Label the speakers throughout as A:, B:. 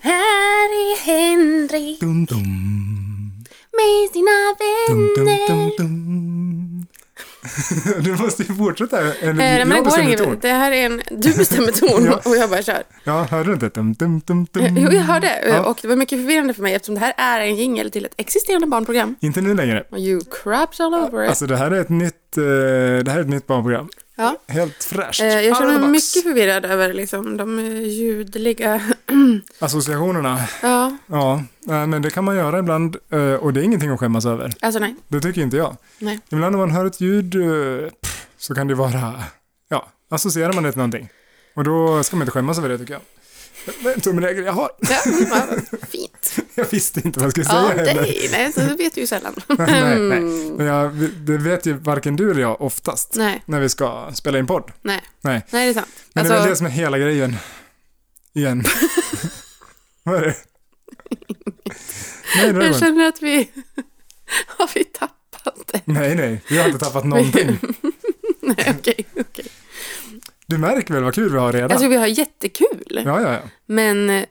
A: Här är Henrik
B: Dum, dum,
A: med sina
B: dum, dum,
A: vänner.
B: dum, dum. du måste ju fortsätta. Eller,
A: Eh, men
B: jag
A: det går
B: bestämmer
A: inget.
B: ton.
A: Det här är en, du bestämmer ton
B: Ja.
A: och jag bara kör. Eh,
B: Ja, hörde du inte? Dum, dum, dum, dum.
A: Jo, jag hörde
B: Ja.
A: och det var mycket förvirrande för mig eftersom det här är en jingel till ett existerande barnprogram.
B: Inte nu längre.
A: Och You craps all over it.
B: Alltså det här är ett nytt, eh, det här är ett nytt barnprogram.
A: ja.
B: Helt fräscht.
A: Eh, jag
B: Out of
A: känner
B: the
A: mig
B: box.
A: mycket förvirrad över liksom, de eh, ljudliga...
B: Associationerna.
A: ja,
B: Ja, nej, men det kan man göra ibland eh, och det är ingenting att skämmas över.
A: alltså nej.
B: Det tycker inte jag.
A: Nej.
B: Ibland när man hör ett ljud eh, pff, så kan det vara, ja, associerar man det till någonting. Och då ska man inte skämmas över det tycker jag. Det är en tumregel jag har.
A: Ja, ja, fint.
B: Jag visste inte vad jag skulle
A: Ja,
B: säga heller.
A: dig. Nej, så det vet du ju sällan.
B: nej, nej.
A: Mm.
B: Men jag, det vet ju varken du eller jag oftast
A: nej,
B: när vi ska spela in podd.
A: nej.
B: Nej.
A: Nej, det är sant.
B: Men det är väl det
A: Alltså,
B: som är hela grejen. Igen. vad är det? Nej, det var
A: jag
B: skönt.
A: känner att vi... Har vi tappat det?
B: nej, nej, vi har inte tappat någonting.
A: Nej, okej. okej.
B: Du märker väl vad kul vi har redan?
A: Alltså, vi har jättekul.
B: Ja, ja, ja.
A: Men,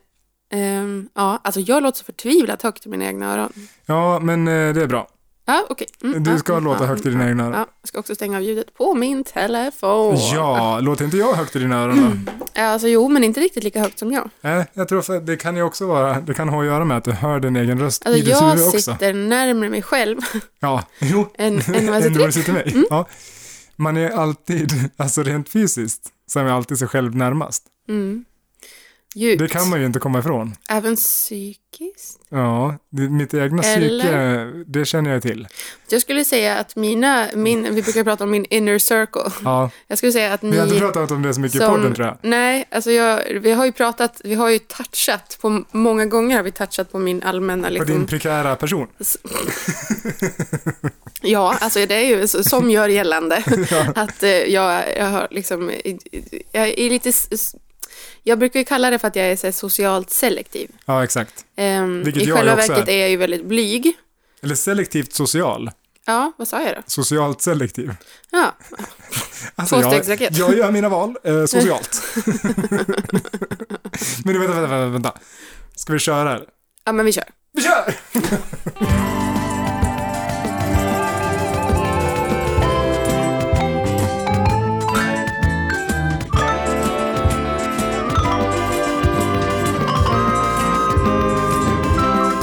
A: ehm, ja, alltså jag låter så förtvivlat högt i mina egna öron.
B: Ja, men eh, det är bra.
A: Ja, okej. Mm,
B: Du
A: ja,
B: ska
A: mm,
B: låta
A: ja,
B: högt i
A: mm,
B: dina egna öron.
A: Ja, jag ska också stänga av ljudet på min telefon.
B: Ja, låter inte jag högt i dina öron då?
A: Alltså jo, men inte riktigt lika högt som jag.
B: Nej, jag tror för det kan ju också vara, det kan ha att göra med att du hör din egen röst
A: Alltså
B: i ditt huvud
A: jag
B: också.
A: sitter närmare mig själv
B: Ja, jo.
A: än, än vad jag
B: Än
A: sitter
B: vad du
A: upp.
B: sitter med. Ja. Man är alltid, alltså rent fysiskt, så är man alltid sig själv närmast.
A: Mm. Djupt.
B: Det kan man ju inte komma ifrån.
A: Även psykiskt.
B: Ja, det, mitt egna
A: Eller?
B: psyke, det känner jag till.
A: Jag skulle säga att mina, min, vi brukar prata om min inner circle.
B: Ja,
A: Jag skulle säga att ni...
B: vi har inte pratat om det så mycket i
A: som-
B: podden tror jag.
A: Nej, alltså jag, vi har ju pratat, vi har ju touchat på, många gånger har vi touchat på min allmänna
B: På
A: liksom,
B: din prekära person.
A: Ja, alltså det är ju så- som gör gällande att eh, jag, jag har liksom, eh, jag är lite, s- s- jag brukar ju kalla det för att jag är så här, socialt selektiv.
B: Ja, exakt.
A: Ehm,
B: Vilket
A: I
B: jag
A: själva
B: också
A: verket
B: är.
A: är jag ju väldigt blyg.
B: Eller selektivt social.
A: Ja, vad sa jag då?
B: Socialt selektiv.
A: Ja,
B: Alltså, jag,
A: Tvåstegsraket.
B: jag gör mina val eh, socialt. Men du, vänta, vänta, vänta, vänta. Ska vi köra? eller?
A: ja men vi kör.
B: Vi kör!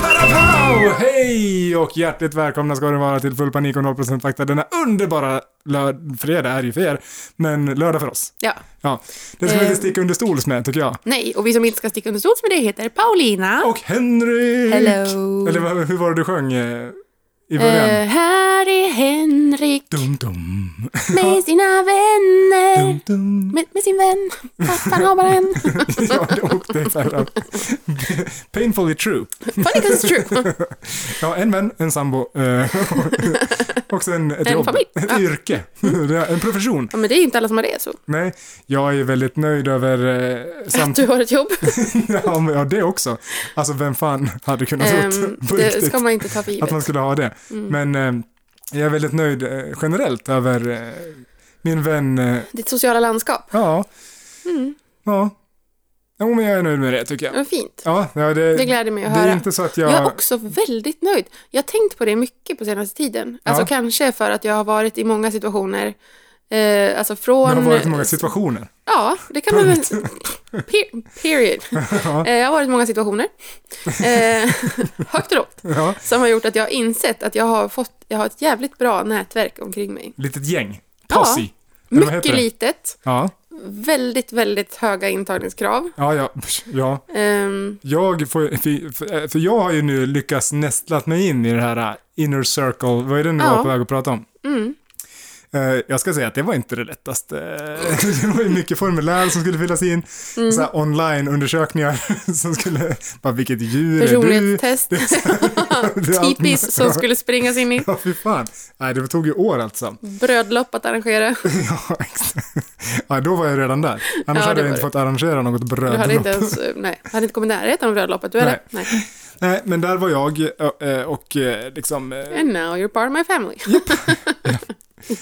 B: Parapau! Hej och hjärtligt välkomna ska ni vara till Full Panik och 0% Fakta denna underbara lörd... fredag är ju för er, men lördag för oss.
A: Ja,
B: Ja, det ska vi
A: Eh.
B: inte sticka under stols med tycker jag.
A: nej, och vi som inte ska sticka under stol med det heter Paulina.
B: Och Henrik!
A: Hello.
B: Eller vad- hur var det du sjöng eh, i början?
A: Eh, här är Henrik
B: Dum, dum.
A: med sina vänner.
B: Dum, dum.
A: Med, med sin vän. Pappan har bara en.
B: ja, det åkte ungefär. Painfully true.
A: Funny 'cause it's true.
B: Ja, en vän, en sambo, eh, också en, ett
A: En
B: jobb,
A: familj.
B: ett
A: Ja.
B: yrke, Det är en profession.
A: Ja, men det är ju inte alla som har det så.
B: Nej, jag är väldigt nöjd över eh,
A: Att
B: samt...
A: du har ett jobb.
B: ja, men, ja, det också. Alltså, vem fan hade kunnat
A: Ehm,
B: trott Alltså, på
A: det
B: riktigt
A: ska man Mm. inte ta för
B: att man
A: givet.
B: skulle ha det. Men eh, jag är väldigt nöjd eh, generellt över eh, min vän eh,
A: Ditt sociala landskap.
B: Ja.
A: Mm.
B: Ja. Jo, men jag är nöjd med det tycker jag.
A: Vad fint.
B: Ja, ja det,
A: Det gläder mig
B: det
A: att
B: är
A: höra.
B: inte så att jag...
A: Jag är också väldigt nöjd. Jag har tänkt på det mycket på senaste tiden. Alltså
B: Ja.
A: kanske för att jag har varit i många situationer. Eh, alltså från...
B: Men det har varit många situationer.
A: Ja, det kan man väl... Pe- period.
B: Ja.
A: Eh, jag har varit i många situationer. Eh, högt och lågt.
B: Ja.
A: Som har gjort att jag har insett att jag har fått... Jag har ett jävligt bra nätverk omkring mig.
B: Litet gäng.
A: Ja.
B: Posse. Eller vad heter
A: Mycket
B: det?
A: litet.
B: Ja.
A: Ehm,
B: äh,
A: mm.
B: Eh,
A: Mm.
B: alltså.
A: eh,
B: eh, liksom,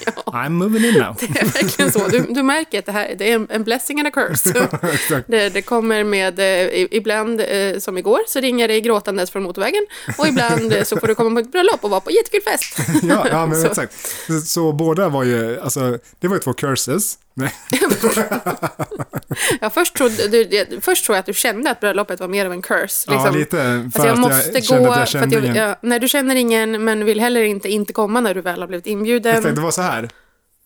A: Ja,
B: I'm moving in now.
A: det är verkligen så. Du, du märker att det här det är en- en blessing and a curse.
B: Exakt.
A: Det, det kommer med, eh, i- ibland eh, som igår så ringer det gråtandes från motorvägen och ibland eh, så får du komma på ett bröllop och vara på jättekul fest.
B: Ja, ja men
A: Så.
B: exakt. Så, så båda var ju, alltså, det var ju två curses. Nej,
A: Ja, först, trodde, du, eh, först tror jag att du kände att bröllopet var mer av en curse.
B: ja,
A: Liksom.
B: lite. För
A: Alltså jag måste
B: att
A: gå,
B: jag kände att jag
A: för att
B: kände
A: jag,
B: ingen.
A: ja, nej, du känner ingen men vill heller inte inte komma när du väl har blivit
B: Jag tänkte,
A: inbjuden.
B: det var så här.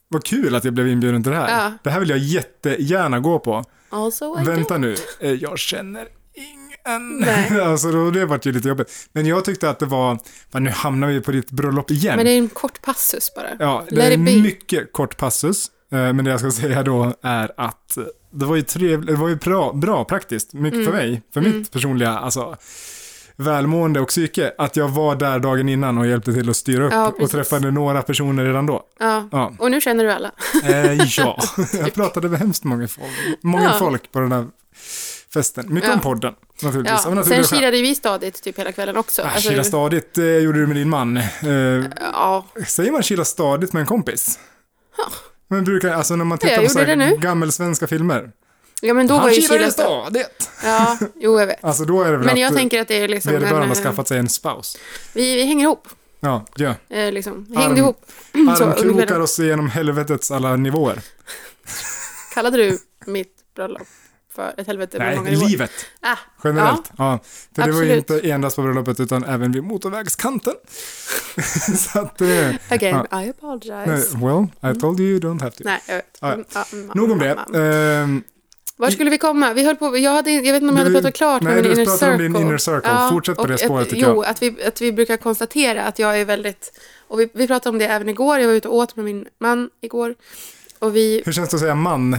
B: Vad kul att jag blev inbjuden till det här.
A: Ja.
B: Det här vill jag jättegärna gå på.
A: Also, I don't-
B: Vänta nu, eh, jag känner ingen.
A: Nej.
B: alltså då, det vart ju lite jobbigt. Men jag tyckte att det var, fan, nu hamnar vi på ditt bröllop igen.
A: Men det är en kort passus bara.
B: Ja, det
A: Let
B: är
A: it be.
B: en mycket kort passus. eh, Men det jag ska säga då är att eh, det var ju, trevligt, det var ju bra, bra praktiskt, mycket för
A: Mm.
B: mig, för mitt personliga alltså, välmående och psyke, att jag var där dagen innan och hjälpte till att styra upp
A: Ja,
B: och
A: precis.
B: träffade några personer redan då.
A: Ja.
B: Ja.
A: Och nu känner du alla.
B: Eh, ja, jag pratade med hemskt många folk, många
A: Ja.
B: folk på den här festen. Mycket
A: Ja.
B: om podden naturligtvis. av
A: Ja.
B: naturliga
A: Sen
B: skäl.
A: kirade vi stadigt typ hela kvällen också.
B: Ah,
A: Alltså,
B: Kila stadigt eh, gjorde du med din man. Eh,
A: ja.
B: säger man kila stadigt med en kompis? Men brukar, alltså när man
A: jag
B: tittar på så
A: gjorde det
B: här
A: nu.
B: gammelsvenska filmer.
A: ja, men då var ju Kila stadigt.
B: stadigt.
A: Ja, jo jag vet.
B: Alltså då är det väl
A: Men jag
B: att
A: tänker att det är liksom
B: vederbörande har
A: eh,
B: skaffat sig en spouse.
A: vi, vi hänger ihop.
B: Ja, ja.
A: Eh, liksom.
B: Arm-
A: Hängde ihop. Mm, Så, under
B: Armkrokar
A: kvällen.
B: oss igenom helvetets alla nivåer.
A: Kallade du mitt bröllop för ett helvete? med
B: Nej,
A: många nivåer?
B: livet
A: Ah,
B: generellt. Ja. För det var ju
A: absolut.
B: inte endast på bröllopet utan även vid motorvägskanten. så att, eh,
A: again, I apologize.
B: nej,
A: Nej,
B: well,
A: Mm.
B: I told you you don't have to.
A: jag vet.
B: Ja, ja.
A: Mm, ja, mm,
B: Nog om det.
A: mm, mm.
B: Ehm,
A: Var skulle vi komma? Vi höll på, jag, hade, jag vet inte om jag
B: Du-
A: hade pratat klart
B: nej,
A: om min
B: du
A: inner
B: pratade
A: circle.
B: om din inner circle. Fortsätt på
A: och
B: det
A: att-
B: spåret, tycker
A: Jo, att vi, att vi brukar konstatera att jag är väldigt... Och vi, vi pratade om det även igår. Jag var ute och åt med min man igår. Och vi...
B: hur känns det att säga man?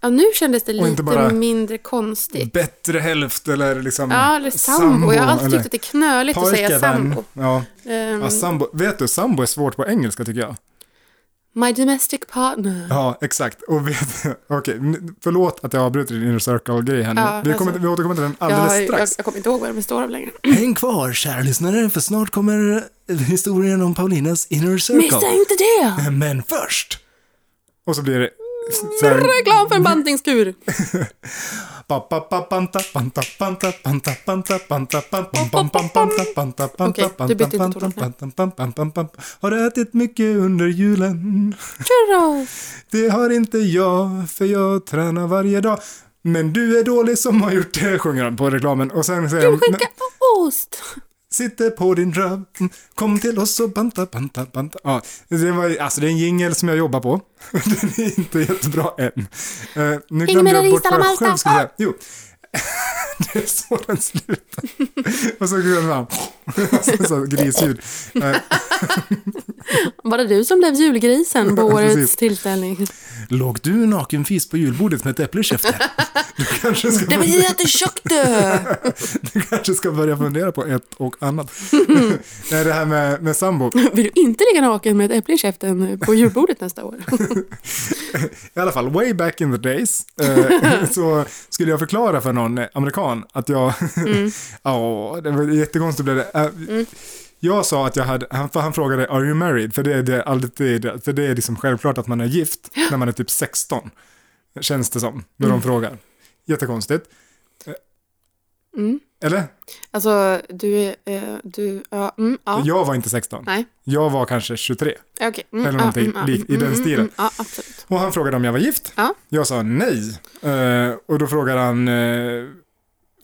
A: Ja, nu kändes det
B: Och
A: lite
B: inte bara-
A: mindre konstigt.
B: Bättre hälft eller liksom
A: Ja, eller sambo. jag har alltid
B: eller
A: tyckt att det är knöligt att säga
B: pojkevän.
A: sambo.
B: Ja.
A: Ehm,
B: Ja, sambo. Vet du, sambo är svårt på engelska tycker jag.
A: my domestic partner.
B: Ja, exakt. Och vet, okej, n- förlåt att jag avbryter din inner circle-grej här nu.
A: Ja,
B: vi, kommer,
A: alltså.
B: vi återkommer till den alldeles
A: Jag, jag,
B: strax.
A: jag kommer inte ihåg vad den består av längre.
B: Häng kvar, kära lyssnare, för snart kommer historien om Paulinas inner
A: Missa inte det!
B: Men först! Och så blir det... Så här,
A: Reklam för en bantningskur!
B: pa, pa, pa, panta, panta, panta, panta, panta, panta, pam, pam, pam, pam, panta, panta, panta,
A: Okej, du bytte inte
B: panta,
A: ton, nej.
B: panta, pam, pam, pam, pam. Har ätit mycket under julen.
A: Churros!
B: Det har inte jag, för jag tränar varje dag. Men du är dålig som har gjort det, sjunger han på reklamen. Och sen säger han,
A: Skinka och ost!
B: sitter på din röv, Mm, kom till oss och banta, banta, banta. Ja, det, var, alltså, det är en jingel som jag jobbar på. Den är inte jättebra än. Uh, nu glömde
A: med
B: jag
A: dig,
B: bort vad jag
A: Stalamalta.
B: själv skulle säga. Jo. det är så den slutar. och så går den fram. så grisljud. Eh,
A: Var det du som blev julgrisen på
B: Ja,
A: årets
B: precis.
A: tillställning?
B: Låg du nakenfis på julbordet med ett äpple i käften? Du kanske ska börja-
A: betyder att du är tjock du!
B: Du kanske ska börja fundera på ett och annat. Nej, det här med, med sambo.
A: Vill du inte ligga naken med ett äpple i käften på julbordet nästa år?
B: I alla fall, way back in the days eh, så skulle jag förklara för någon amerikan att jag...
A: Mm.
B: Ja, det var jättekonstigt blev det. Eh, Jag sa att jag hade, han, för han frågade “Are you married?” för det är, det, alltid, för det är liksom självklart att man är gift när man är typ 16. Känns det som, när de frågar. Jättekonstigt. Eh,
A: Mm.
B: Eller?
A: Alltså, du är... eh, Du, ja, mm, ja.
B: Jag var inte 16.
A: Nej,
B: Jag var kanske 23.
A: okej. mm,
B: Eller
A: ja,
B: någonting
A: mm, ja,
B: likt i den
A: mm, mm,
B: stilen.
A: mm, Ja, absolut.
B: Och han frågade om jag var gift.
A: Ja.
B: Jag sa nej. Eh, och då frågade han... eh,
A: Är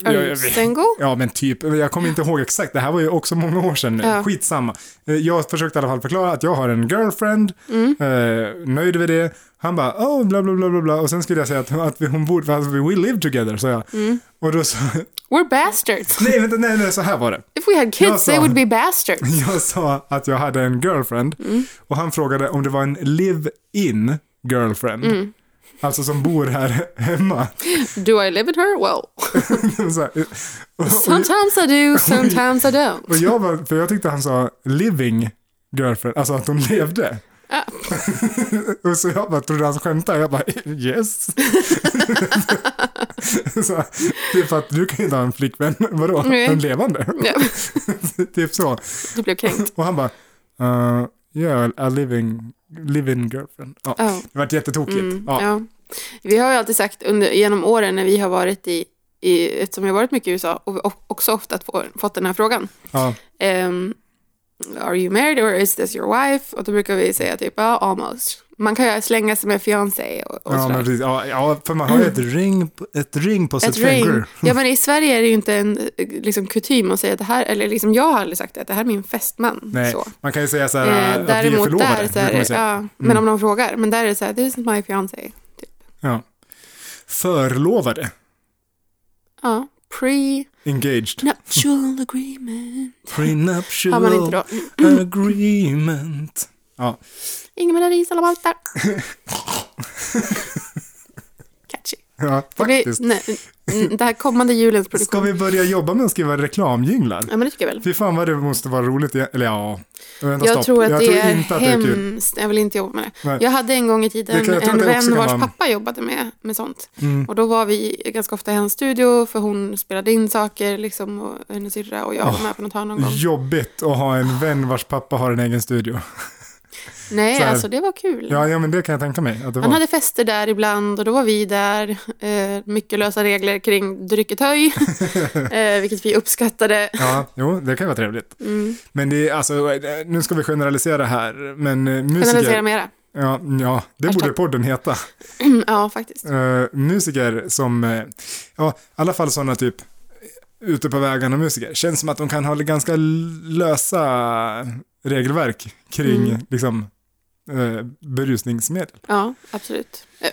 B: jag-
A: du
B: jag vet-
A: single?
B: Ja, men typ. Jag kommer inte ihåg exakt. Det här var ju också många år sedan nu.
A: Ja.
B: Skitsamma. Eh, Jag försökte i alla fall förklara att jag har en girlfriend.
A: Mm.
B: Eh, nöjd med det. Han bara, oh, bla, bla, bla, bla, bla. Och sen skulle jag säga att, att vi, hon borde, alltså, we live together, sa jag.
A: Mm.
B: Och då sa
A: We're bastards.
B: nej, vänta, nej, nej, så här var det.
A: If we had
B: Jag
A: kids
B: sa-
A: they would be bastards.
B: Jag sa att jag hade en girlfriend
A: Mm.
B: och han frågade om det var en live-in girlfriend.
A: Mm.
B: Alltså som bor här hemma.
A: Do I live with her? Well,
B: Så här, eh, och,
A: sometimes I do, sometimes I
B: och
A: don't.
B: jag var, för jag tyckte han sa living girlfriend, alltså att hon levde.
A: Ja.
B: och så jag bara, trodde han skämtade? Jag bara, yes. så, typ att du kan ju inte ha en flickvän, vadå?
A: Nej.
B: En levande?
A: Ja,
B: typ så.
A: Du blev kränkt.
B: Och han bara, eh, Yeah, a living, living girlfriend. Ja,
A: Ja.
B: Det vart jättetokigt.
A: Mm,
B: ja.
A: ja. Vi har ju alltid sagt under, genom åren när vi har varit i, i eftersom jag har varit mycket i USA och och också ofta få, fått den här frågan.
B: Ja.
A: Ehm, are you married or is this your wife? Och då brukar vi säga typ ja, almost. Man kan ju slänga sig med fiancé och, och
B: Ja,
A: sådär.
B: men precis. Ja, ja, för man har ju ett ring, ett ring på sitt
A: Ett ring.
B: finger.
A: Ja, men i Sverige är det ju inte en eh, liksom, kutym att säga att det här, eller liksom jag har aldrig sagt det, att det här är min fästman.
B: Nej,
A: Så.
B: man kan ju säga så
A: Eh,
B: här att vi är
A: däremot
B: förlovade.
A: där, så
B: brukar
A: är
B: man
A: det,
B: säga. Mm.
A: ja, men om någon frågar, men där är det så här, this is my fiancé.
B: Ja. Förlovade.
A: Ja, pre
B: Engaged.
A: Nuptial agreement. Har man inte
B: Prenuptial
A: då?
B: agreement. Ja,
A: Ingemar Marie Salamalta. Catchy.
B: ja
A: Det, blir,
B: faktiskt.
A: nej, n- det här kommande julens
B: Ska
A: produktion.
B: vi börja jobba med att skriva reklamjinglar?
A: Ja, men det tycker jag väl.
B: Fy fan vad det måste vara roligt. igen- Eller ja, vänta,
A: Jag
B: stopp.
A: tror att
B: jag
A: det
B: tror
A: är
B: inte att det är kul.
A: hemskt. Jag vill inte jobba med det.
B: Nej.
A: Jag hade en gång i tiden
B: Det kan- jag tror
A: en
B: att det också
A: vän
B: kan
A: vars
B: vara-
A: pappa jobbade med, med sånt.
B: Mm.
A: Och då var vi ganska ofta i hennes studio för hon spelade in saker liksom och hennes syrra och jag var med på något hörn någon gång.
B: Jobbigt att ha en vän vars pappa har en egen studio. så
A: Nej,
B: här-
A: alltså det var kul.
B: Ja, ja men det kan jag tänka mig att det var.
A: Han hade fester där ibland och då var vi där. Eh, mycket lösa regler kring dryckethöj, eh, vilket vi uppskattade.
B: Ja, jo, det kan vara trevligt.
A: Mm.
B: Men det är alltså, eh, nu ska vi generalisera här, men eh,
A: Generalisera
B: musiker,
A: mera.
B: ja, ja, det
A: Hashtag.
B: borde podden heta.
A: ja, faktiskt.
B: Eh, musiker som, eh, ja, i alla fall sådana typ ute på vägarna musiker, känns som att de kan ha ganska lösa regelverk kring,
A: Mm.
B: liksom, eh, berusningsmedel.
A: Ja, absolut. Eh,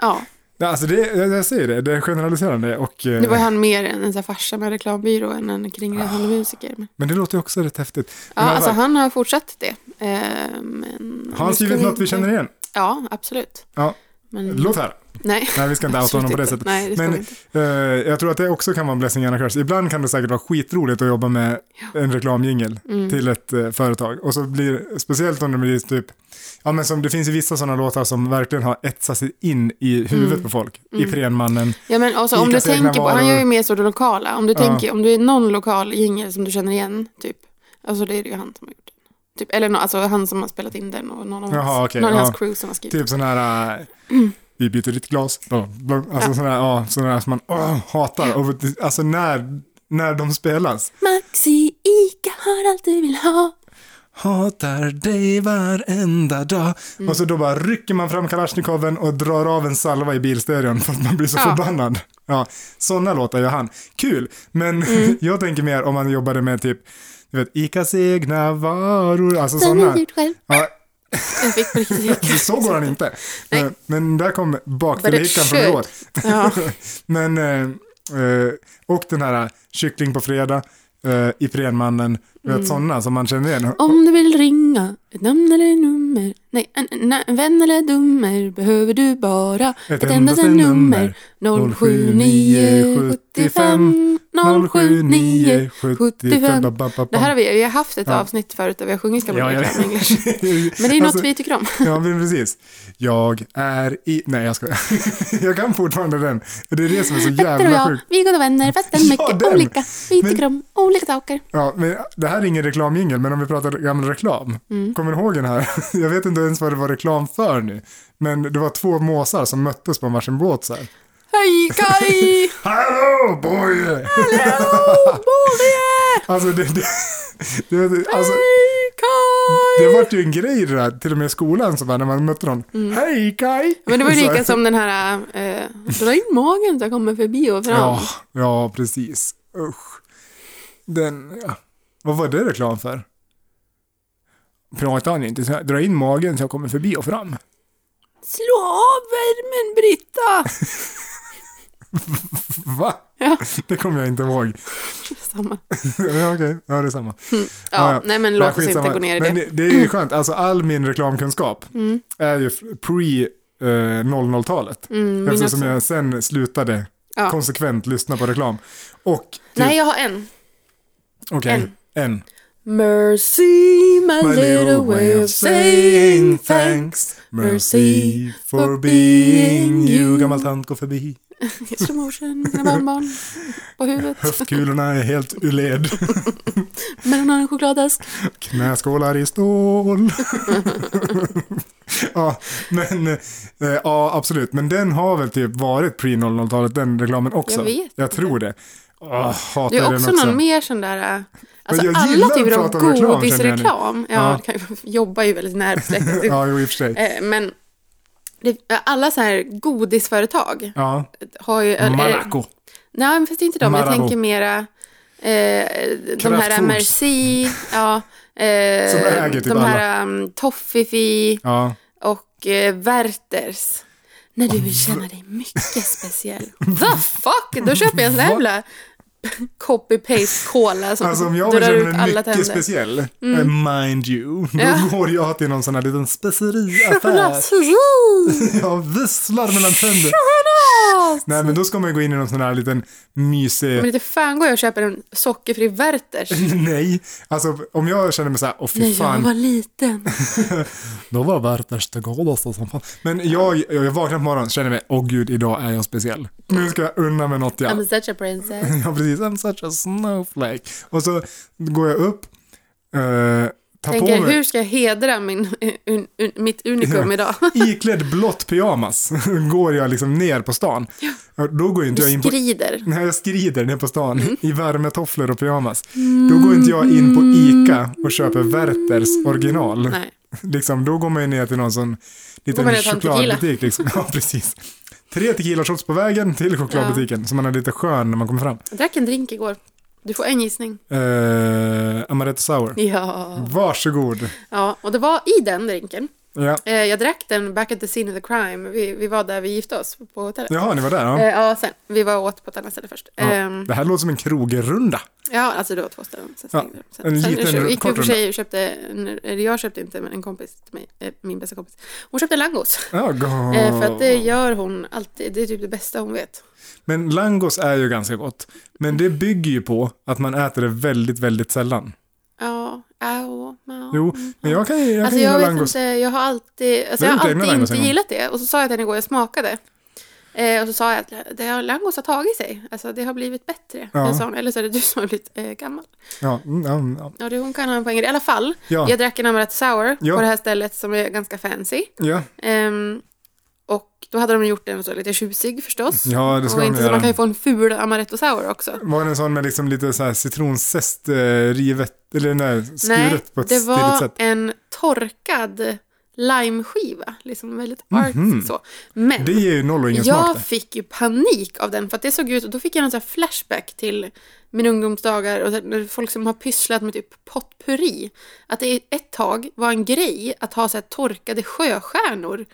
A: ja,
B: Ja, Alltså det, jag jag säger det, det är generaliserande och... eh,
A: nu var han mer en, en så här farsa med reklambyrå än en kringresande musiker. Men,
B: Men det låter ju också rätt häftigt.
A: ja,
B: Ah. Men i alla
A: alltså
B: fall,
A: han har fortsatt det. Eh, men,
B: har han skrivit något vi känner igen?
A: Ja, absolut.
B: Ja.
A: Men,
B: Låt höra.
A: nej.
B: Nej, vi ska inte outa
A: absolut
B: honom på det
A: inte.
B: sättet.
A: Nej, det ska
B: Men-
A: vi inte.
B: Eh, jag tror att det också kan vara en blessing and a curse. Ibland kan det säkert vara skitroligt att jobba med en reklamjingel
A: Mm.
B: till ett eh, företag. Och så blir, speciellt om det blir typ, ja men som det finns ju vissa sådana låtar som verkligen har etsat sig in i huvudet på folk. I Prenmannen.
A: Ja, men alltså, om du
B: Icas egna
A: tänker på, han
B: varor.
A: gör ju mer så det lokala. Om du,
B: Ja.
A: tänker, om du är någon lokal jingel som du känner igen, typ. Alltså det är det ju han som har gjort den. Typ, eller nå- alltså han som har spelat in den och någon av
B: Jaha,
A: hans,
B: okej,
A: någon av
B: ja.
A: hans crew som har skrivit
B: Typ sådana här, eh, vi byter ditt glas. Bla, bla, alltså sådana här, ja, sådana här som man åh, hatar. Och, alltså när, när de spelas.
A: Maxi, Ica har allt du vill ha.
B: Hatar dig varenda dag.
A: Mm.
B: Och så då bara rycker man fram Kalashnikoven och drar av en salva i bilstereon för att man blir så
A: Ja.
B: förbannad. Ja, sådana låtar gör han. Kul, men
A: Mm.
B: jag tänker mer om man jobbade med typ, du vet, Icas egna varor, alltså
A: Den är
B: sådana.
A: gjord själv.
B: Ja,
A: Jag fick på riktigt Ica.
B: så går han inte.
A: Nej.
B: Men, men där kom bakfilikan från
A: But it
B: igår.
A: Ja.
B: Men, eh, eh, och den här kyckling på fredag, eh, Iprenmannen, du
A: Mm.
B: vet sådana som man känner igen.
A: Om du vill ringa ett namn eller nummer. Nej, en, en, en vän eller dummer behöver du bara ett, endaste nummer. 079 75 079 75. Det här har vi, vi har haft ett
B: Ja.
A: avsnitt förut där vi har sjungit gamla
B: Ja, jag vet.
A: reklam i English. Men det är något vi tycker om.
B: Alltså, Ja, men precis. Jag är i... Nej, jag skojar. jag kan fortfarande den. Det är det som är så
A: Petter och
B: jävla
A: jag,
B: sjukt.
A: vi är goda vänner fastän
B: Ja,
A: mycket
B: den.
A: olika. Vi
B: Men-
A: tycker om olika saker.
B: Ja, men det här är ingen reklamjingel, men om vi pratar gammal reklam.
A: Mm.
B: Kommer du ihåg den här? Jag vet inte ens vad det var reklam för nu. Men det var två måsar som möttes på en varsin båt så här.
A: Hej Kaj!
B: Hallå boy!
A: Hallå Boje!
B: Alltså det... det, det alltså,
A: Hej Kaj!
B: Det var ju en grej det där, till och med i skolan så bara, när man mötte någon. Hej Kaj!
A: Mm. Men det var ju
B: Så-
A: lika som den här, eh, dra in magen så jag kommer förbi och fram.
B: Ja, ja, precis. Usch. Den, ja. Vad var det reklam för? Pratar han inte så här, dra in magen så jag kommer förbi och fram.
A: Slå av värmen Britta!
B: Va?
A: Ja.
B: Det kommer jag inte ihåg.
A: Samma.
B: ja, okej, ja det är samma.
A: Ja,
B: Ja, ja.
A: nej men
B: Nej,
A: låt oss
B: skitsamma.
A: inte gå ner i
B: Men
A: det.
B: det, det är ju skönt, alltså all min reklamkunskap
A: Mm.
B: är ju f- pre eh, 00-talet.
A: Mm, min
B: Eftersom
A: också.
B: jag sen slutade
A: Ja.
B: konsekvent lyssna på reklam. Och, typ-
A: Nej, jag har en.
B: okej, en.
A: Mercy, my,
B: My
A: little way of saying thanks.
B: thanks Mercy for being you Gammal tant går förbi
A: slow motion, mina barnbarn på huvudet.
B: Höftkulorna är helt ur led.
A: Men hon har en chokladask.
B: Knäskålar i stål. ja, men eh, ja, absolut. Men den har väl typ varit pre-00-talet, den reklamen också.
A: Jag vet
B: Jag tror det. Åh, hatar
A: Det är
B: den
A: också
B: också.
A: någon mer sån där... äh, Alltså
B: jag
A: alla
B: gillar att
A: typer av
B: prata om reklam, känner jag nu.
A: godisreklam. Ja, det
B: Ja.
A: kan ju- jobbar ju väldigt nära släktet.
B: Ja, jo, i och för sig.
A: Eh, Men det, alla så här godisföretag
B: Ja,
A: har ju... eller-
B: Malaco.
A: Nej, men fast det är inte de. Jag
B: Marabou.
A: tänker mera eh, de här
B: Kraftfoods.
A: Merci, ja, eh,
B: Som äger typ
A: de här um, Toffifi
B: Ja.
A: och eh, Werthers. När du vill känna dig mycket speciell. The fuck! Då köper jag en sån här
B: Va?
A: jävla copy-paste cola som
B: Alltså om jag
A: drar
B: vill känna
A: ut
B: mig
A: alla
B: mycket
A: tänder. Mm.
B: speciell, eh, mind you, då
A: Ja.
B: går jag till någon sån här liten speceriaffär.
A: Chokladsrull!
B: Jag visslar mellan tänder.
A: Choklad!
B: Nej, men då ska man ju gå in i någon sån här liten mysig...
A: Men inte fan går jag och köper en sockerfri Werthers.
B: Nej, alltså om jag känner mig så här, åh
A: När
B: fy
A: jag
B: fan,
A: var liten.
B: då var Werthers det godaste som fanns. alltså." Men jag, jag vaknar på morgonen och känner mig, åh gud, idag är jag speciell. Nu ska jag unna mig något jag...
A: I'm such a princess.
B: Ja, precis, I'm such a snowflake. Och så går jag upp, eh, tar på
A: Tänker,
B: mig...
A: hur ska jag hedra min, un, un, mitt unikum idag?
B: iklädd blått pyjamas går jag liksom ner på stan. Då går ju inte jag in på...
A: Skrider. Mm.
B: När jag skrider ner på stan i värmetofflor och pyjamas, då går inte jag in på ICA och köper Werthers original.
A: Mm. Nej.
B: Liksom, då går man ju ner till någon sån
A: Går man
B: liten
A: ner och tar en tequila.
B: chokladbutik. Liksom. Ja, precis. Tre tequila-shots på vägen till chokladbutiken, så man är lite skön när man kommer fram.
A: Jag drack en drink igår. Du får en gissning.
B: Uh, Amaretto Sour.
A: Ja.
B: Varsågod.
A: ja. Och det var i den drinken.
B: Ja.
A: Eh, jag drack den back at the scene of the crime. Vi, vi var där vi gifte oss på hotellet.
B: Jaha, ni var där. Ja.
A: Eh, ja, sen. Vi var och åt på ett annat ställe först.
B: Ja.
A: Ehm,
B: Det här låter som en krogrunda.
A: ja, alltså det var två ställen. Sen
B: Ja,
A: stängde de. sen,
B: en
A: sen
B: liten
A: kö- gick vi
B: kort
A: för sig och köpte, en, eller jag köpte inte, men en kompis till mig, eh, min bästa kompis. Hon köpte en langos.
B: Ja, go-
A: Eh, för att det
B: Ah.
A: gör hon alltid. Det är typ det bästa hon vet.
B: Men langos är ju ganska gott. Men det bygger ju på att man äter det väldigt, väldigt sällan.
A: Ja, au, ma.
B: Jo, men jag kan ju jag
A: Alltså
B: kan
A: jag
B: gilla
A: vet
B: langos.
A: inte, jag har alltid, alltså
B: Du
A: jag
B: har
A: har
B: inte
A: alltid
B: ägnat langos
A: inte
B: en gång.
A: gillat det. Och så sa jag till henne igår, jag smakade. Eh, och så sa jag att det har, langos har tagit sig. Alltså det har blivit bättre.
B: Ja.
A: Eller, så, eller så är det du som har blivit eh, gammal.
B: Ja, mm, ja, mm, ja.
A: Ja, det, hon kan ha en poäng i det. I alla fall,
B: Ja.
A: jag drack en Amaretto Sour
B: Ja.
A: på det här stället som är ganska fancy.
B: ja.
A: Ehm, och då hade de gjort den så lite tjusig förstås.
B: ja det ska
A: och
B: man
A: inte så man kan ju
B: göra.
A: få en ful Amaretto Sour också.
B: Var det en sån med liksom lite så här citronzest eh, rivet, eller nej, skuret på ett
A: det var
B: stiligt sätt?
A: en torkad limeskiva. Liksom väldigt artsy så. Men
B: Mhm. Det ger ju noll och ingen smak
A: jag
B: det.
A: fick ju panik av den för att det såg ut, och då fick jag någon sån här flashback till min ungdomsdagar och så här, folk som har pysslat med typ potpurri. Att det ett tag var en grej att ha så här torkade sjöstjärnor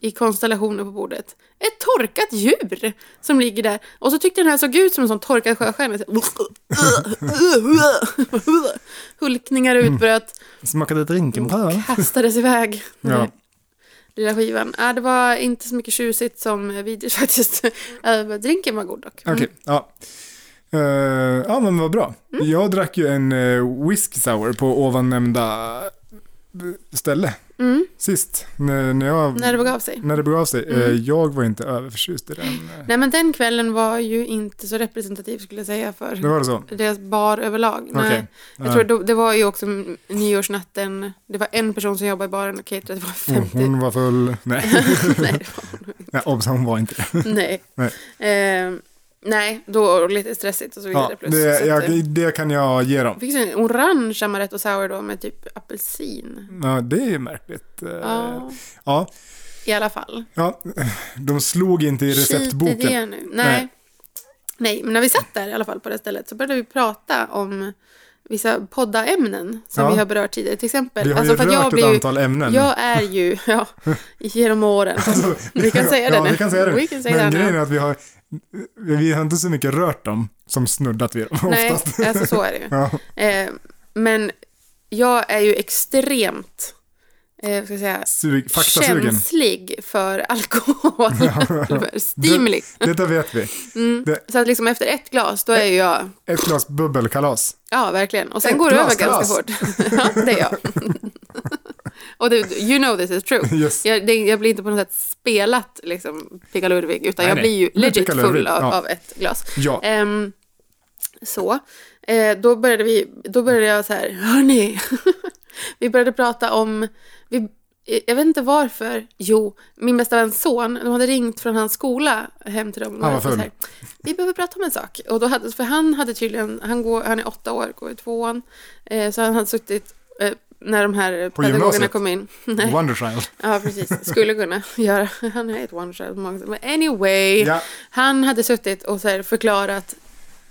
A: i konstellationer på bordet. Ett torkat djur som ligger där. Och så tyckte den här såg ut som en sån torkad sjöstjärna. Så här, Hulkningar
B: Mm.
A: utbröt
B: Smakade drinken på?
A: kastades iväg.
B: Ja.
A: Den Lilla skivan. Ja, det var inte så mycket tjusigt som videos faktiskt. Äh, Drinken var god dock. Mm.
B: Okej, ja. Eh, ja men vad bra.
A: Mm.
B: Jag drack ju en uh, whisky sour på ovannämnda eh, ställe.
A: Mm.
B: Sist, när, när jag...
A: När det begav sig.
B: När det begav sig.
A: Mm.
B: Eh, Jag var inte överförtjust i den. eh.
A: Nej men den kvällen var ju inte så representativ skulle jag säga för
B: Det var det så?
A: deras bar överlag.
B: Mm. Okej.
A: Nej. Jag
B: Nej.
A: tror det, det var ju också mm, nyårsnatten. Det var en person som jobbade i baren och caterade. Det var 50.
B: Hon var full.
A: Mm.
B: Nej,
A: nej,
B: Nej obs, hon var inte det.
A: nej.
B: Nej.
A: Ehm, nej, då var det lite stressigt och så vidare.
B: Ja,
A: plus. Så
B: det,
A: att, eh,
B: jag, det kan jag ge dem.
A: fick en orange amaretto sour då med typ apelsin.
B: Ja, det är ju märkligt. Eh,
A: Mm. Ja,
B: Ja,
A: i alla fall.
B: ja, de slog inte i
A: Skit i
B: receptboken.
A: det nu.
B: Nej.
A: Nej. Nej, men när vi satt där i alla fall på det stället så började vi prata om vissa poddaämnen som
B: Ja.
A: vi har berört tidigare. Till exempel,
B: Vi har ju
A: alltså för att jag
B: rört ett
A: blir ju,
B: antal ämnen. Alltså,
A: jag är ju, ja, genom åren. vi kan säga det
B: ja,
A: nu.
B: vi kan säga det.
A: We can say
B: Men
A: that now.
B: grejen är att vi har, vi har inte så mycket rört dem som snuddat vid dem
A: Nej,
B: oftast.
A: alltså så är det ju.
B: Ja,
A: Eh, men jag är ju extremt, eh, ska jag säga,
B: sug, faktasugen.
A: känslig för alkohol. för stimuli.
B: Detta vet vi.
A: Så att liksom efter ett glas, då är ju jag
B: Ett glas bubbelkalas.
A: Ja, verkligen. Och sen
B: Ett
A: går det
B: glas,
A: över ganska
B: glas.
A: fort. ja, det är jag. Och du, you know this is true.
B: Yes.
A: Jag, det, jag blir inte på något sätt spelat liksom, Picka Ludvig, utan
B: Nej,
A: jag
B: nej.
A: blir ju
B: Men
A: legit
B: Picka Ludvig,
A: full av,
B: ja.
A: av ett glas.
B: Ja.
A: Ehm, så. Eh, då, började vi, då började jag så här, hörni. vi började prata om, vi, jag vet inte varför, jo, min bästa väns son, de hade ringt från hans skola hem till dem.
B: Han var
A: Och så
B: full.
A: här, Vi behöver prata om en sak. Och då hade, för han hade tydligen, han, går, han är åtta år, går i tvåan. Eh, så han hade suttit eh, när de här
B: På
A: pedagogerna
B: gymnasiet?
A: kom in.
B: Wonderchild.
A: Ja, precis. Skulle kunna göra. Han är ett one shot. på många sätt. Men anyway.
B: Ja.
A: Han hade suttit och så här förklarat.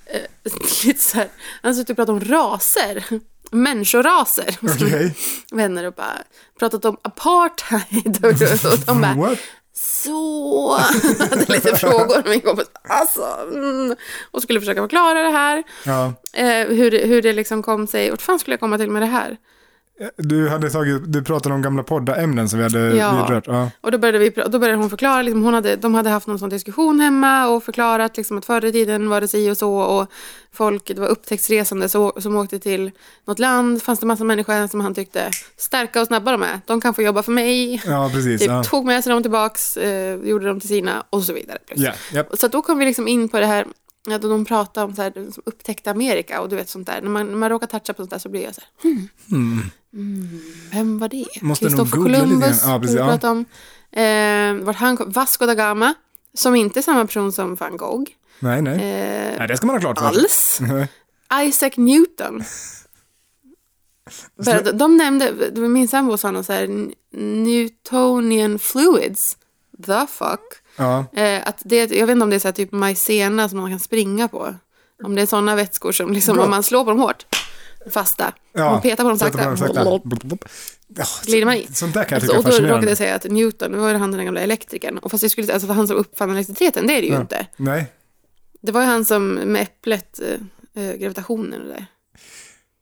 A: Eh, lite så här, han hade suttit och pratat om raser. Människoraser.
B: Okej.
A: Vänner och bara pratat om apartheid. Och, och de bara,
B: What?
A: så. hade lite frågor. Min kompis, alltså. Mm, och skulle försöka förklara det här.
B: Ja.
A: Eh, hur, det- hur det liksom kom sig. Vart fan skulle jag komma till med det här?
B: Du, hade tagit, du pratade om gamla poddämnen som vi hade
A: Ja.
B: vidrört. Ja.
A: Och då började, vi, pra- då började hon förklara, liksom hon hade, de hade haft någon sån diskussion hemma och förklarat liksom att förr i tiden var det si och så och folk, det var upptäcktsresande så, som åkte till något land, fanns det massa människor som han tyckte, starka och snabba de är, de kan få jobba för mig.
B: ja, precis.
A: Typ,
B: Ja.
A: Tog med sig dem tillbaks, eh, gjorde dem till sina och så vidare.
B: Ja, japp.
A: Så att då kom vi liksom in på det här, ja, då de pratade om så här, som upptäckta Amerika och du vet sånt där. När man, när man råkar toucha på sånt där så blir jag så här, hmm. Mm. Vem var det?
B: Måste nog
A: Christopher
B: googla lite
A: Columbus,
B: grann. Ja, precis,
A: vi
B: ja.
A: pratade om. Eh, vart han kom, Vasco da Gama, som inte är samma person som van Gogh
B: Nej, nej.
A: eh,
B: nej. Det ska man ha klart för sig.
A: alls. Isaac Newton.
B: Alltså,
A: För att de nämnde, det var min sambo sa någon så här, Newtonian fluids, the fuck.
B: Ja.
A: Eh, att det, jag vet inte om det är så här typ majsena som man kan springa på. Om det är sådana vätskor som liksom,
B: Bra.
A: om man slår på dem hårt, fasta.
B: Ja.
A: Om man petar på dem sakta,
B: Blop, blop. Ja,
A: glider man i.
B: Sånt där kan jag
A: Alltså,
B: tycka är
A: och då råkade
B: fascinerande.
A: jag säga att Newton, det var ju han den gamla elektrikern. Och fast jag skulle säga, alltså för han som uppfann elektriciteten, det är det ju inte.
B: Nej.
A: Det var ju han som med äpplet, eh, eh, gravitationen och det där.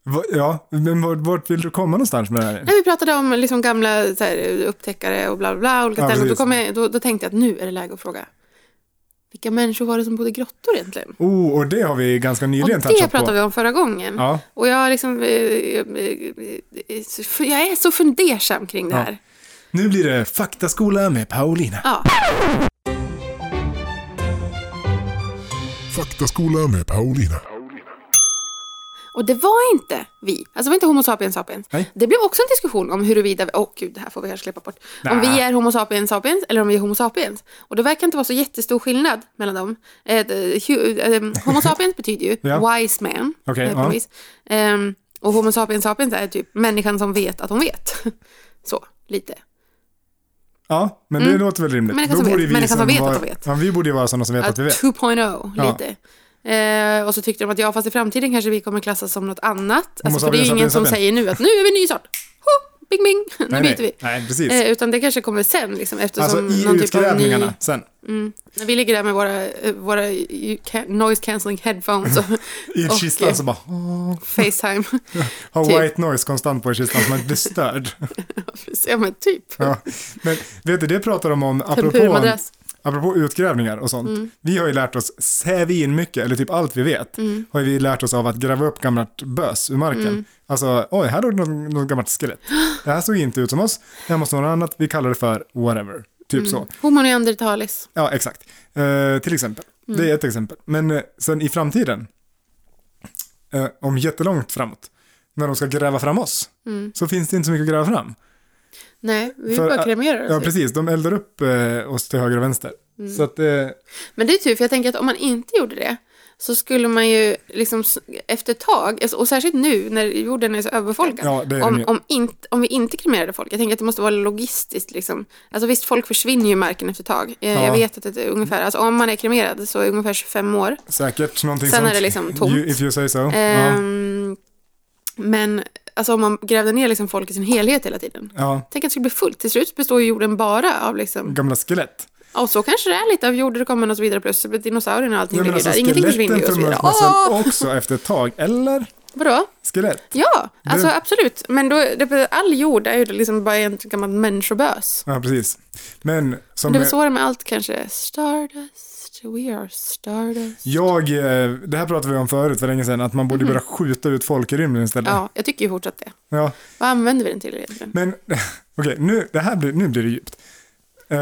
B: Va- Ja, men vart, vart vill du komma någonstans med det här?
A: Nej, vi pratade om liksom gamla så här, upptäckare och bla bla bla, olika
B: Ja,
A: ställen. Då,
B: precis.
A: kom jag, då, då tänkte jag att nu är det läge att fråga, vilka människor var det som bodde i grottor egentligen?
B: Oh, och det har vi ganska
A: Och
B: nyligen
A: det
B: touchat på.
A: pratade vi om förra gången.
B: Ja,
A: Och jag, har liksom, eh, eh, eh, eh, så- jag är så fundersam kring det
B: Ja.
A: här.
B: nu blir det faktaskola med Paulina.
A: Ja.
C: Faktaskola med Paulina.
A: Och det var inte vi. Alltså det var inte Homo sapiens sapiens.
B: Nej.
A: Det blev också en diskussion om huruvida, vi- åh gud det här får vi kanske släppa bort. Om
B: Nä.
A: vi är Homo sapiens sapiens eller om vi är Homo sapiens. Och det verkar inte vara så jättestor skillnad mellan dem. Eh, det- hu- eh, homo sapiens betyder ju
B: Ja.
A: wise man.
B: Okej,
A: eh, på
B: ja.
A: något vis. Ehm, och Homo sapiens sapiens är typ människan som vet att hon vet. Så, lite.
B: Ja, men det låter väl rimligt.
A: Mm. Människan som vet. Människan som vet att de vet.
B: Ja, vi borde ju vara sådana som vet att vi vet.
A: 2.0
B: Ja.
A: oh, lite. Eh, och så tyckte de att ja, fast i framtiden kanske vi kommer klassas som något annat. Alltså, för det är
B: sapiens,
A: ju ingen som
B: sapiens.
A: säger nu att nu är vi en ny sort. Ho, bing bing, nu
B: Nej,
A: byter vi.
B: nej. nej, precis.
A: Eh, utan det kanske kommer sen, liksom,
B: alltså
A: eftersom någon
B: i
A: typ av ny...
B: utgrävningarna sen.
A: När vi ligger där med våra, eh, våra ju- ca- noise cancelling headphones och,
B: I
A: och eh,
B: kistan så bara, åh,
A: Facetime.
B: ha
A: typ.
B: white noise konstant på i kistan så man inte blir störd.
A: ja, men typ.
B: ja. Men vet du, det pratar de om apropå,
A: Tempurmadrass.
B: apropå utgrävningar och sånt.
A: Mm.
B: Vi har ju lärt oss sävin mycket, eller typ allt vi vet,
A: Mm.
B: har ju vi lärt oss av att gräva upp gammalt bös ur marken. Alltså, oj, här låg något, något gammalt skelett. Det här såg inte ut som oss, det här måste vara något annat, vi kallar det för whatever. Typ
A: Mm.
B: så.
A: Homo neandertalis.
B: Ja, exakt. Eh, till exempel. Det
A: Mm.
B: är ett exempel. Men eh, sen i framtiden, eh, om jättelångt framåt, när de ska gräva fram oss,
A: Mm.
B: så finns det inte så mycket att gräva fram.
A: Nej, vi
B: För
A: bara
B: att-
A: kremerar
B: Ja,
A: oss. Mm.
B: precis. De eldar upp eh, oss till höger och vänster. Så att, eh,
A: Men det är tur, för jag tänker att om man inte gjorde det så skulle man ju liksom s- efter ett tag, alltså, och särskilt nu när jorden är så överbefolkad,
B: Ja, det är det
A: om,
B: mer.
A: om, inte, om vi inte kremerade folk, jag tänker att det måste vara logistiskt liksom. Alltså visst, folk försvinner ju i marken efter ett tag. Eh, Jag,
B: Ja.
A: jag vet att det är ungefär, alltså om man är kremerad så är det ungefär 25 år.
B: säkert någonting
A: Sen är
B: sånt.
A: det liksom tomt.
B: You, if you say so. ja.
A: Ehm, men alltså om man grävde ner liksom folk i sin helhet hela tiden.
B: ja,
A: Tänk att det skulle bli fullt, till slut består ju jorden bara av liksom,
B: gamla skelett.
A: ja, och så kanske det är lite av jord, det kommer och så vidare, plus typ dinosaurierna och allting
B: Ja, men
A: ligger
B: alltså,
A: där. Ingenting försvinner
B: skeletten
A: ju och så vidare.
B: tömmer man sen
A: Åh!
B: också efter ett tag. Eller?
A: Vadå?
B: Skelett.
A: Ja, alltså absolut. Men då, det, all jord är ju liksom bara egentligen gammalt människobös.
B: Ja, precis. Men som...
A: Det var
B: eh,
A: så det med allt kanske. Stardust. We are stardust.
B: Jag, eh, det här pratade vi om förut för länge sedan, att man borde börja skjuta ut folk i rymden istället.
A: Ja, jag tycker ju fortsatt det.
B: Ja.
A: Vad använder vi den till egentligen?
B: Men okej, nu, det här blir, nu blir det djupt. Eh,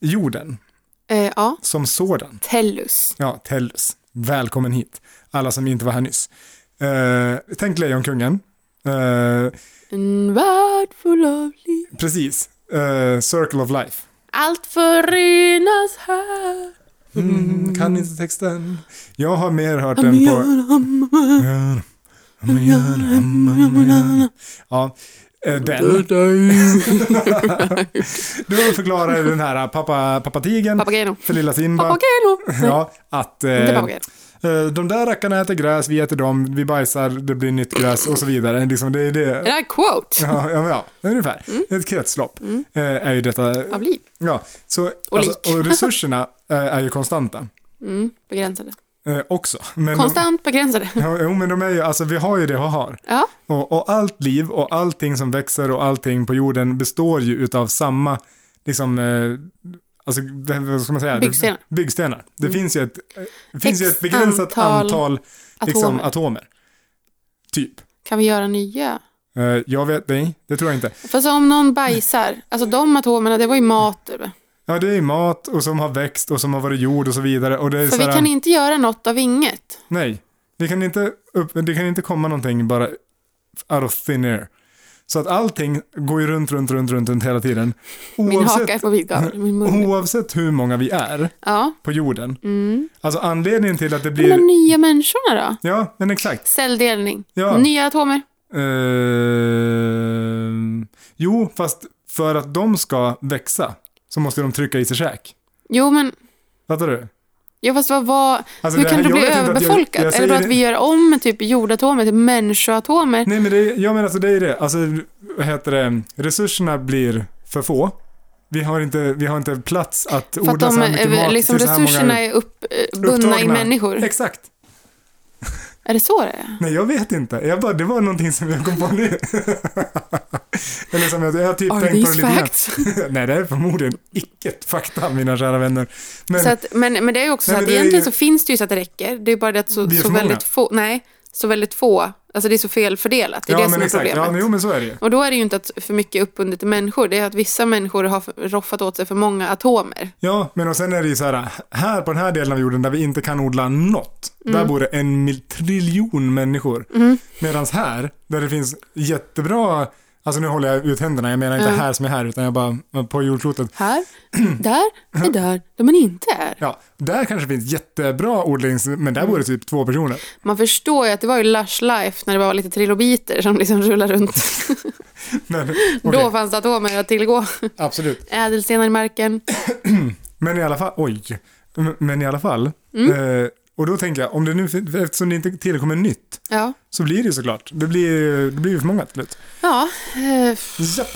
B: jorden
A: Eh, ja,
B: som sådan,
A: Tellus.
B: ja, Tellus, välkommen hit. Alla som inte var här nyss. Eh, tänk Lejonkungen. Eh,
A: En värld full av liv.
B: precis, eh, Circle of Life.
A: Allt förenas här.
B: Mm, kan inte texten. Jag har mer hört
A: Am
B: den på...
A: jag-
B: Ja, eh, den. Du förklarar den här eh, pappa, pappa tigen
A: Papageno.
B: för lilla Simba.
A: Papageno. Nej,
B: Ja, att eh,
A: Inte papageno.
B: eh, de där rackarna äter gräs, vi äter dem, vi bajsar, det blir nytt gräs och så vidare. Liksom, det är
A: Är det
B: det.
A: här quote?
B: Ja, ja, men ja, ungefär.
A: Mm.
B: Ett kretslopp eh, är ju detta.
A: Av liv.
B: Ja, så, alltså,
A: Och lik.
B: och resurserna eh, är ju konstanta
A: Mm, begränsade.
B: eh, också. Men de,
A: Konstant begränsade.
B: Ja, Jo, men de är ju, alltså vi har ju det vi har.
A: Ja,
B: Och, och allt liv och allting som växer och allting på jorden består ju utav samma, liksom, eh, alltså, det- vad ska man säga?
A: Byggstenar. Mm.
B: Byggstenar. Det finns ju ett, eh, det finns ju
A: X
B: ett begränsat
A: antal
B: antal, liksom,
A: atomer.
B: atomer. Typ.
A: Kan vi göra nya?
B: Eh, jag vet, nej, det tror jag inte.
A: Fast om någon bajsar, alltså de atomerna, det var ju mat. du.
B: Ja, det är mat och som har växt och som har varit jord och så vidare. Och det är
A: För vi
B: såhär,
A: kan inte göra något av inget.
B: nej, det kan, inte upp, det kan inte komma någonting bara out of thin air. Så att allting går ju runt, runt, runt, runt, runt hela tiden.
A: Min
B: Oavsett
A: haka är på vid gavel, min mun.
B: Oavsett hur många vi är
A: Ja.
B: på jorden,
A: Mm.
B: alltså anledningen till att det
A: De där
B: blir...
A: nya människorna då?
B: Ja, men exakt.
A: Celldelning.
B: Ja.
A: Nya atomer.
B: Ehm, jo, fast för att de ska växa så måste de trycka i sig käk.
A: Jo, men...
B: Fattar du?
A: Ja, fast vad var...
B: Alltså,
A: Hur
B: det
A: kan det
B: här- jag
A: bli
B: vet inte att jag-
A: överbefolkat? är
B: jag
A: det
B: säger
A: bara att
B: det-
A: vi gör om typ jordatomer till människoatomer?
B: Nej, men det, jag menar alltså det är det. Alltså, vad heter det? Resurserna blir för få. Vi har inte, vi har inte plats att
A: För att
B: odla
A: de,
B: så här mycket
A: är-
B: mat
A: liksom,
B: till så här
A: resurserna
B: många
A: är uppbundna i
B: upptagna.
A: människor.
B: Exakt.
A: Är det så det är?
B: Nej, jag vet inte. Jag bara, det var någonting som jag kom på nu. Eller som jag, jag har typ
A: Are
B: tänkt
A: these
B: på det lite grann.
A: facts?
B: Nej, det är förmodligen icke fakta, mina kära vänner. Men
A: Så att, men, men det är ju också
B: Nej,
A: så
B: men
A: att
B: det är
A: egentligen
B: ju-
A: så finns det ju så att det räcker. Det är bara det att så,
B: Vi är
A: så
B: för många.
A: väldigt få, nej, så väldigt få, alltså det är så felfördelat. Det är det som är
B: Ja,
A: problemet.
B: men, jo, men så är det ju.
A: Och då är det ju inte att för mycket är uppbundet till människor, det är att vissa människor har för- roffat åt sig för många atomer.
B: Ja, men och sen är det ju så här, här på den här delen av jorden där vi inte kan odla något,
A: Mm.
B: där bor det en mil- triljon människor. Mm. Medan här, där det finns jättebra, alltså nu håller jag ut händerna, jag menar inte
A: Mm.
B: här som är här, utan jag bara på jordklotet.
A: Här, där, är där, där man inte är.
B: Ja, där kanske finns jättebra odlings, men där bor det
A: Mm.
B: typ två personer.
A: Man förstår ju att det var ju lush life när det bara var lite trilobiter som liksom rullade runt.
B: Men,
A: Då
B: okej,
A: fanns det atomer att tillgå.
B: absolut.
A: Ädelstenar i marken.
B: Men i alla fall, oj. M- Men i alla fall.
A: Mm.
B: Eh, och då tänker jag, om det nu, fin- eftersom det inte tillkommer nytt,
A: Ja,
B: så blir det ju såklart. Det blir ju det blir ju för många till slut.
A: ja eh,
B: Japp.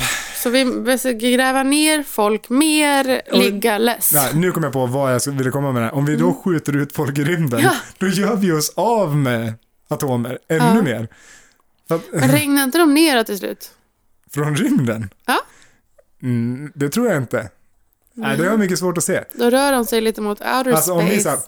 A: så vi vi ska gräva ner folk mer, ligga less.
B: Ja, nu kom jag på vad jag skulle- ville komma med det här. Om vi då skjuter ut folk i rymden,
A: Mm. Ja.
B: då gör vi oss av med atomer ännu
A: Ja.
B: mer. För att-
A: Men regnar inte de ner då till slut?
B: Från rymden?
A: Ja.
B: Mm, det tror jag inte. Nej, det har jag mycket svårt att se.
A: Då rör de sig lite mot outer
B: Alltså om
A: space.
B: vi så här,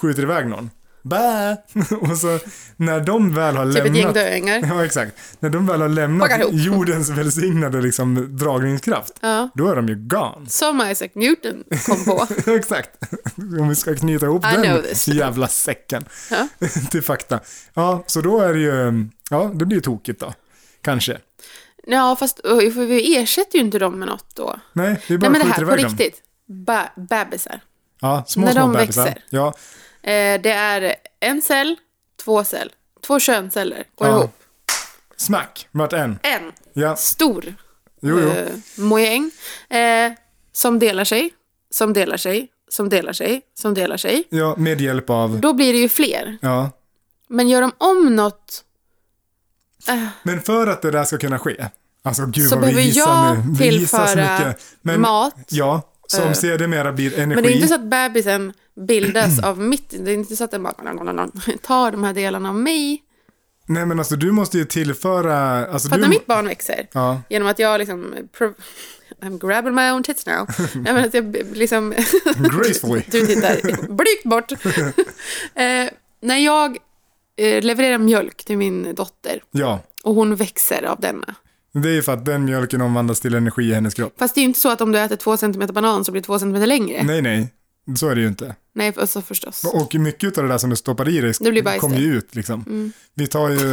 B: skjuter iväg någon. Bä! Och så när de väl har
A: typ ett gäng
B: lämnat
A: döingar.
B: Ja, exakt. När de väl har lämnat
A: Packar ihop.
B: jordens välsignade liksom, dragningskraft,
A: Ja.
B: då är de ju gone.
A: Som Isaac Newton kom på.
B: exakt. Om vi ska knyta ihop
A: I know
B: den
A: this.
B: jävla säcken
A: Ja.
B: till fakta. Ja, så då är det ju, ja, det blir ju tokigt då. Kanske.
A: ja, fast ö, för vi ersätter ju inte dem med något då.
B: Nej, vi bara
A: Nej, men det här,
B: skjuter
A: på
B: iväg dem.
A: riktigt. Ba- bebisar.
B: Ja, små,
A: När
B: små
A: de
B: bebisar.
A: växer.
B: Ja,
A: Eh, det är en cell, två cell, två könsceller går
B: Ja.
A: ihop.
B: smack, vart en.
A: En
B: Ja,
A: stor
B: jo, jo.
A: eh, mojäng eh, som delar sig, som delar sig, som delar sig, som delar sig.
B: Ja, med hjälp av,
A: Då blir det ju fler.
B: ja.
A: Men gör de om något
B: Men för att det där ska kunna ske, alltså gud
A: Så
B: vad vi
A: behöver
B: gissar
A: jag
B: nu. Vi gissar så
A: tillföra
B: mycket. Men,
A: mat.
B: Ja, som
A: Eh.
B: sedermera blir energi.
A: Men det är inte så att bebisen
B: Mm.
A: bildas av mitt, det är inte så att den bara tar de här delarna av mig
B: Nej men alltså du måste ju tillföra... Alltså,
A: Fatta
B: du...
A: mitt barn växer.
B: Ja.
A: Genom att jag liksom... Pro- I'm grabbing my own tits now. Nej, men att jag b- liksom...
B: Gracefully.
A: du tittar blygt bort. eh, när jag eh, levererar mjölk till min dotter
B: ja.
A: och hon växer av denna.
B: Det är ju för att den mjölken omvandlas till energi i hennes kropp.
A: Fast det är ju inte så att om du äter två centimeter banan så blir det två centimeter längre. Nej,
B: Nej, nej. Så är det ju inte.
A: alltså förstås.
B: Och mycket av det där som du stoppar i dig
A: Det blir bajs Mm.
B: kommer ju ut liksom. Vi, tar ju,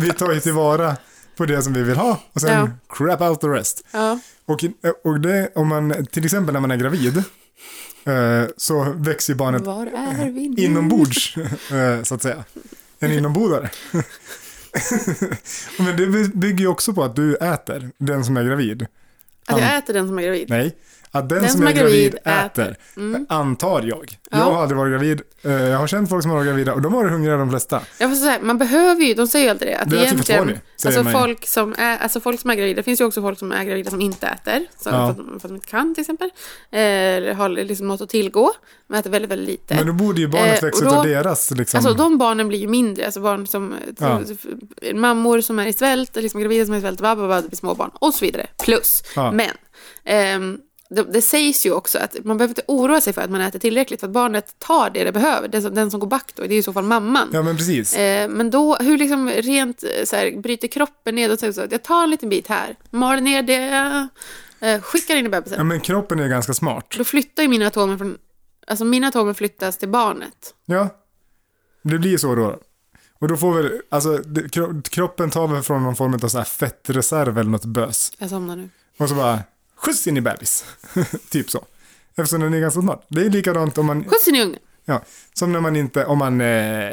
B: vi tar ju tillvara på det som vi vill ha och sen
A: Ja.
B: crap out the rest.
A: Ja.
B: Och, och det, om man, till exempel när man är gravid, eh, så växer ju barnet
A: Var är vi nu?
B: inombords, eh, så att säga. En inombordare. Men det by- bygger ju också på att du äter, den som är gravid.
A: Att jag äter den som är gravid.
B: Nej, att den, som, är gravid äter, antar jag.
A: Mm. Ja.
B: Jag har aldrig varit gravid, eh, jag har känt folk som har varit gravida och de har varit hungriga de flesta.
A: Jag får säga, man behöver ju, de säger ju alltid det. Att
B: Det är typ
A: egentligen,
B: försvarligt, säger
A: alltså,
B: man ju.
A: folk som är, alltså folk som är gravida, det finns ju också folk som är gravida som inte äter. Så
B: Ja.
A: för, att, de- för att de inte kan till exempel. Eh, Eller har liksom något att tillgå. Men äter väldigt, väldigt lite.
B: Men då borde ju barnet
A: Eh,
B: växa
A: och då-
B: utav deras liksom.
A: Alltså de barnen blir ju mindre, alltså barn som,
B: Ja.
A: mammor som är i svält, liksom gravida som är i svält, bla, bla, bla, det blir småbarn och så vidare. Plus,
B: Ja.
A: men ehm, det, det sägs ju också att man behöver inte oroa sig för att man äter tillräckligt för att barnet tar det det behöver. Den som, den som går back då, det är ju i så fall mamman.
B: Ja men precis.
A: Eh, men då, hur liksom rent eh, så här, bryter kroppen ned och så att jag tar en liten bit här, mal ner det, eh, skickar in i bebisen.
B: Ja men kroppen är ju ganska smart.
A: Då flyttar ju mina atomer från, alltså mina atomer flyttas till barnet.
B: Ja, det blir ju så då. Och då får väl, alltså det, kro- kroppen tar väl från någon form av så här fettreserv eller något bös.
A: Jag somnar nu.
B: Och så bara, skjuts in i bebis. typ så. Eftersom den är ganska smart. Det är likadant om man,
A: Skjuts in i ungen.
B: ja, som när man inte, om man eh,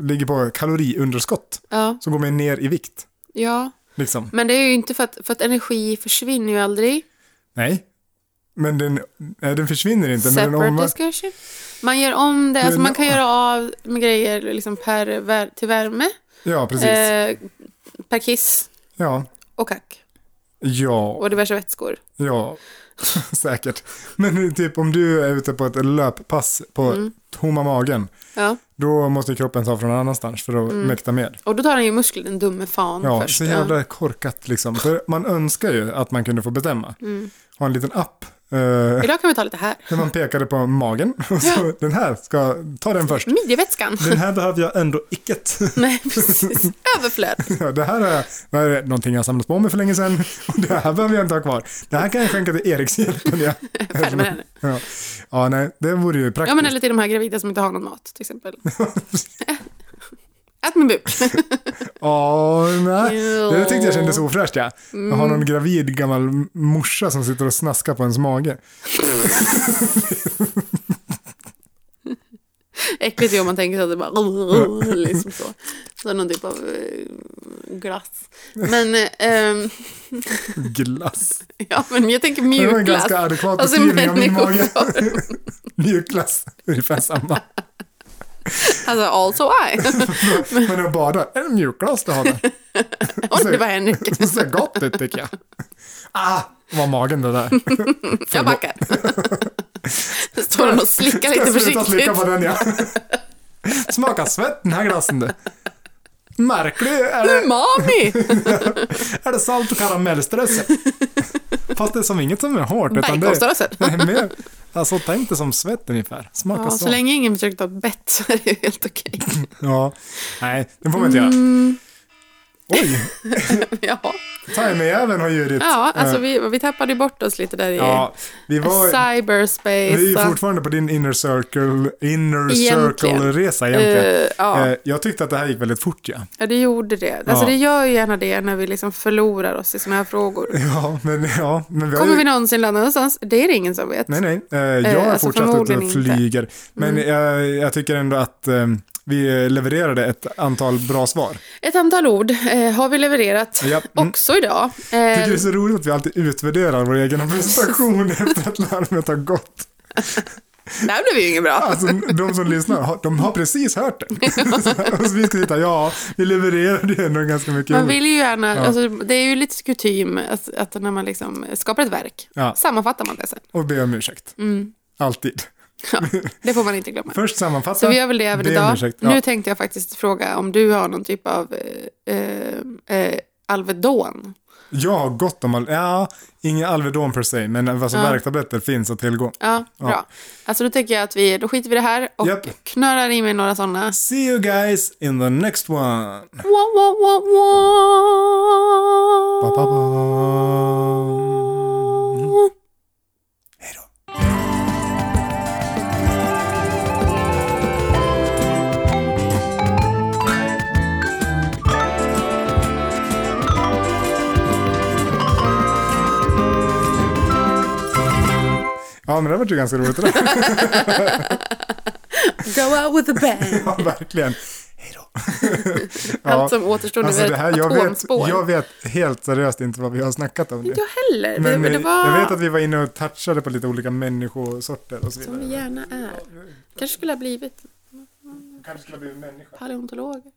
B: ligger på kaloriunderskott.
A: Ja,
B: Så går man ner i vikt,
A: ja.
B: liksom.
A: Men det är ju inte för att, för att energi försvinner ju aldrig.
B: Nej. Men den, nej, den försvinner inte. Men den
A: Separate
B: omvandlas.
A: discussion. Man gör om det, alltså
B: Men-
A: man kan göra av med grejer liksom per, vär- till värme,
B: Ja, precis.
A: eh, per kiss
B: Ja.
A: och kack
B: Ja.
A: och diverse vätskor.
B: Ja, säkert. Men typ om du är ute på ett löppass på
A: Mm.
B: tomma magen,
A: Ja.
B: då måste kroppen ta från någon annanstans för att
A: Mm.
B: mäkta med.
A: Och då tar han ju muskler, den dumme fan
B: Ja,
A: först.
B: så jävla korkat liksom. För man önskar ju att man kunde få bestämma. Ha en liten app eh,
A: Ja. Mm. Idag kan vi ta lite här.
B: där man pekade på magen och så den här ska, ta den först.
A: Midjevätskan.
B: Den här behöver jag ändå icket.
A: Nej, precis. Överflöd.
B: Ja, det här är, det här är någonting jag samlat på mig för länge sedan och det här behöver jag inte ha kvar. Det här kan jag skänka till Erikshjälpen. Ja.
A: Färdig med den.
B: Ja. ja, nej, det vore ju praktiskt.
A: Ja, men eller till de här gravida som inte har någon mat, till exempel. Ät med buk.
B: Ja, nej.
A: Jo.
B: Det tyckte jag kändes ofräscht ja. Jag har någon gravid gammal morsa som sitter och snaskar på ens mage.
A: Äckligt ju om man tänker så att det bara liksom så. Så någon typ av eh, glass. Men, eh, ehm,
B: Glass.
A: ja men jag tänker
B: Det var en
A: mjuk glass.
B: ganska adekvat
A: Alltså
B: beskrivning av min mage.
A: människoform.
B: Mjukglass, ungefär samma.
A: Alltså also I.
B: Men att bada, är det mjukglass du har där?
A: Och
B: Alltså,
A: det var Henrik.
B: Det ser gott ut tycker jag. Ah, vad magen det där.
A: Jag backar. Står han och slickar lite
B: Sluta
A: försiktigt.
B: slicka på den ja. Smakar svett den här glassen du. Märklig är det,
A: Umami!
B: är det salt och karamellströssel. Fast det är som inget som är hårt. Utan det,
A: Baconströssel.
B: Nej, mer, alltså tänk det som svett ungefär. Smaka
A: Ja, så
B: svett.
A: länge ingen försöker ta ett bett så är det ju helt okej.
B: Ja, nej, det får man inte
A: Mm.
B: göra. Oj,
A: Ja.
B: timejäveln har ljudit.
A: ja, alltså
B: Eh,
A: vi, vi tappade ju bort oss lite där i
B: ja, vi var...
A: cyberspace.
B: Vi är
A: och-
B: fortfarande på din inner circle, inner
A: Egentligen.
B: circle-resa egentligen.
A: Eh, ja.
B: Eh, Jag tyckte att det här gick väldigt fort ja.
A: Ja, det gjorde det. Alltså
B: Ja.
A: det gör ju gärna det när vi liksom förlorar oss i såna här frågor.
B: Ja, men ja. Men vi har
A: Kommer
B: ju...
A: vi någonsin landa någonstans? Det är det ingen som vet.
B: Nej, nej. Eh, Jag har
A: alltså
B: fortsatt ute
A: förmodligen
B: och
A: inte.
B: flyger. Men jag, jag tycker ändå att eh, vi levererade ett antal bra svar.
A: Ett antal ord eh, har vi levererat
B: Ja, mm.
A: också idag.
B: Jag tycker det
A: Eh,
B: är så roligt att vi alltid utvärderar vår egen prestation efter att larmet har gått.
A: där blev ju inget bra.
B: Alltså, de som lyssnar, har- de har precis hört det. Och så vi ska sitta, ja, vi levererade ju ändå ganska mycket.
A: Man
B: ord.
A: vill ju gärna,
B: Ja.
A: alltså, det är ju lite kutym att, att när man liksom skapar ett verk,
B: Ja.
A: sammanfattar man det sen.
B: Mm. Och be om ursäkt. Alltid.
A: Ja, det får man inte glömma.
B: Först sammanfatta.
A: Så vi gör väl det även
B: Det är en
A: idag.
B: ursäkt, ja.
A: Nu tänkte jag faktiskt fråga om du har någon typ av eh, eh, eh, Alvedon.
B: Jag har gott om, al- ja, ingen Alvedon per se, men alltså
A: Ja.
B: värktabletter finns att tillgå.
A: Ja,
B: Ja.
A: bra. Alltså då tänker jag att vi, då skiter vi i det här och
B: Japp.
A: knörar i mig några sådana.
B: See you guys in the next one!
A: Wah, wah, wah, wah.
B: Ba, ba, ba. Hej då! Ja, men det var ju ganska roligt det där.
A: Go out with a bang.
B: Ja, verkligen. Hej då. Ja,
A: Allt som återstår nu
B: alltså
A: är
B: det
A: ett
B: här, jag vet,
A: atomspår.
B: jag vet helt seriöst inte vad vi har snackat om nu.
A: Inte jag heller.
B: Men
A: det,
B: eh,
A: det var
B: jag vet att vi var inne och touchade på lite olika människosorter och så
A: som vi
B: vidare.
A: gärna är. Kanske skulle ha blivit
B: Kanske skulle ha blivit människa.
A: paleontolog.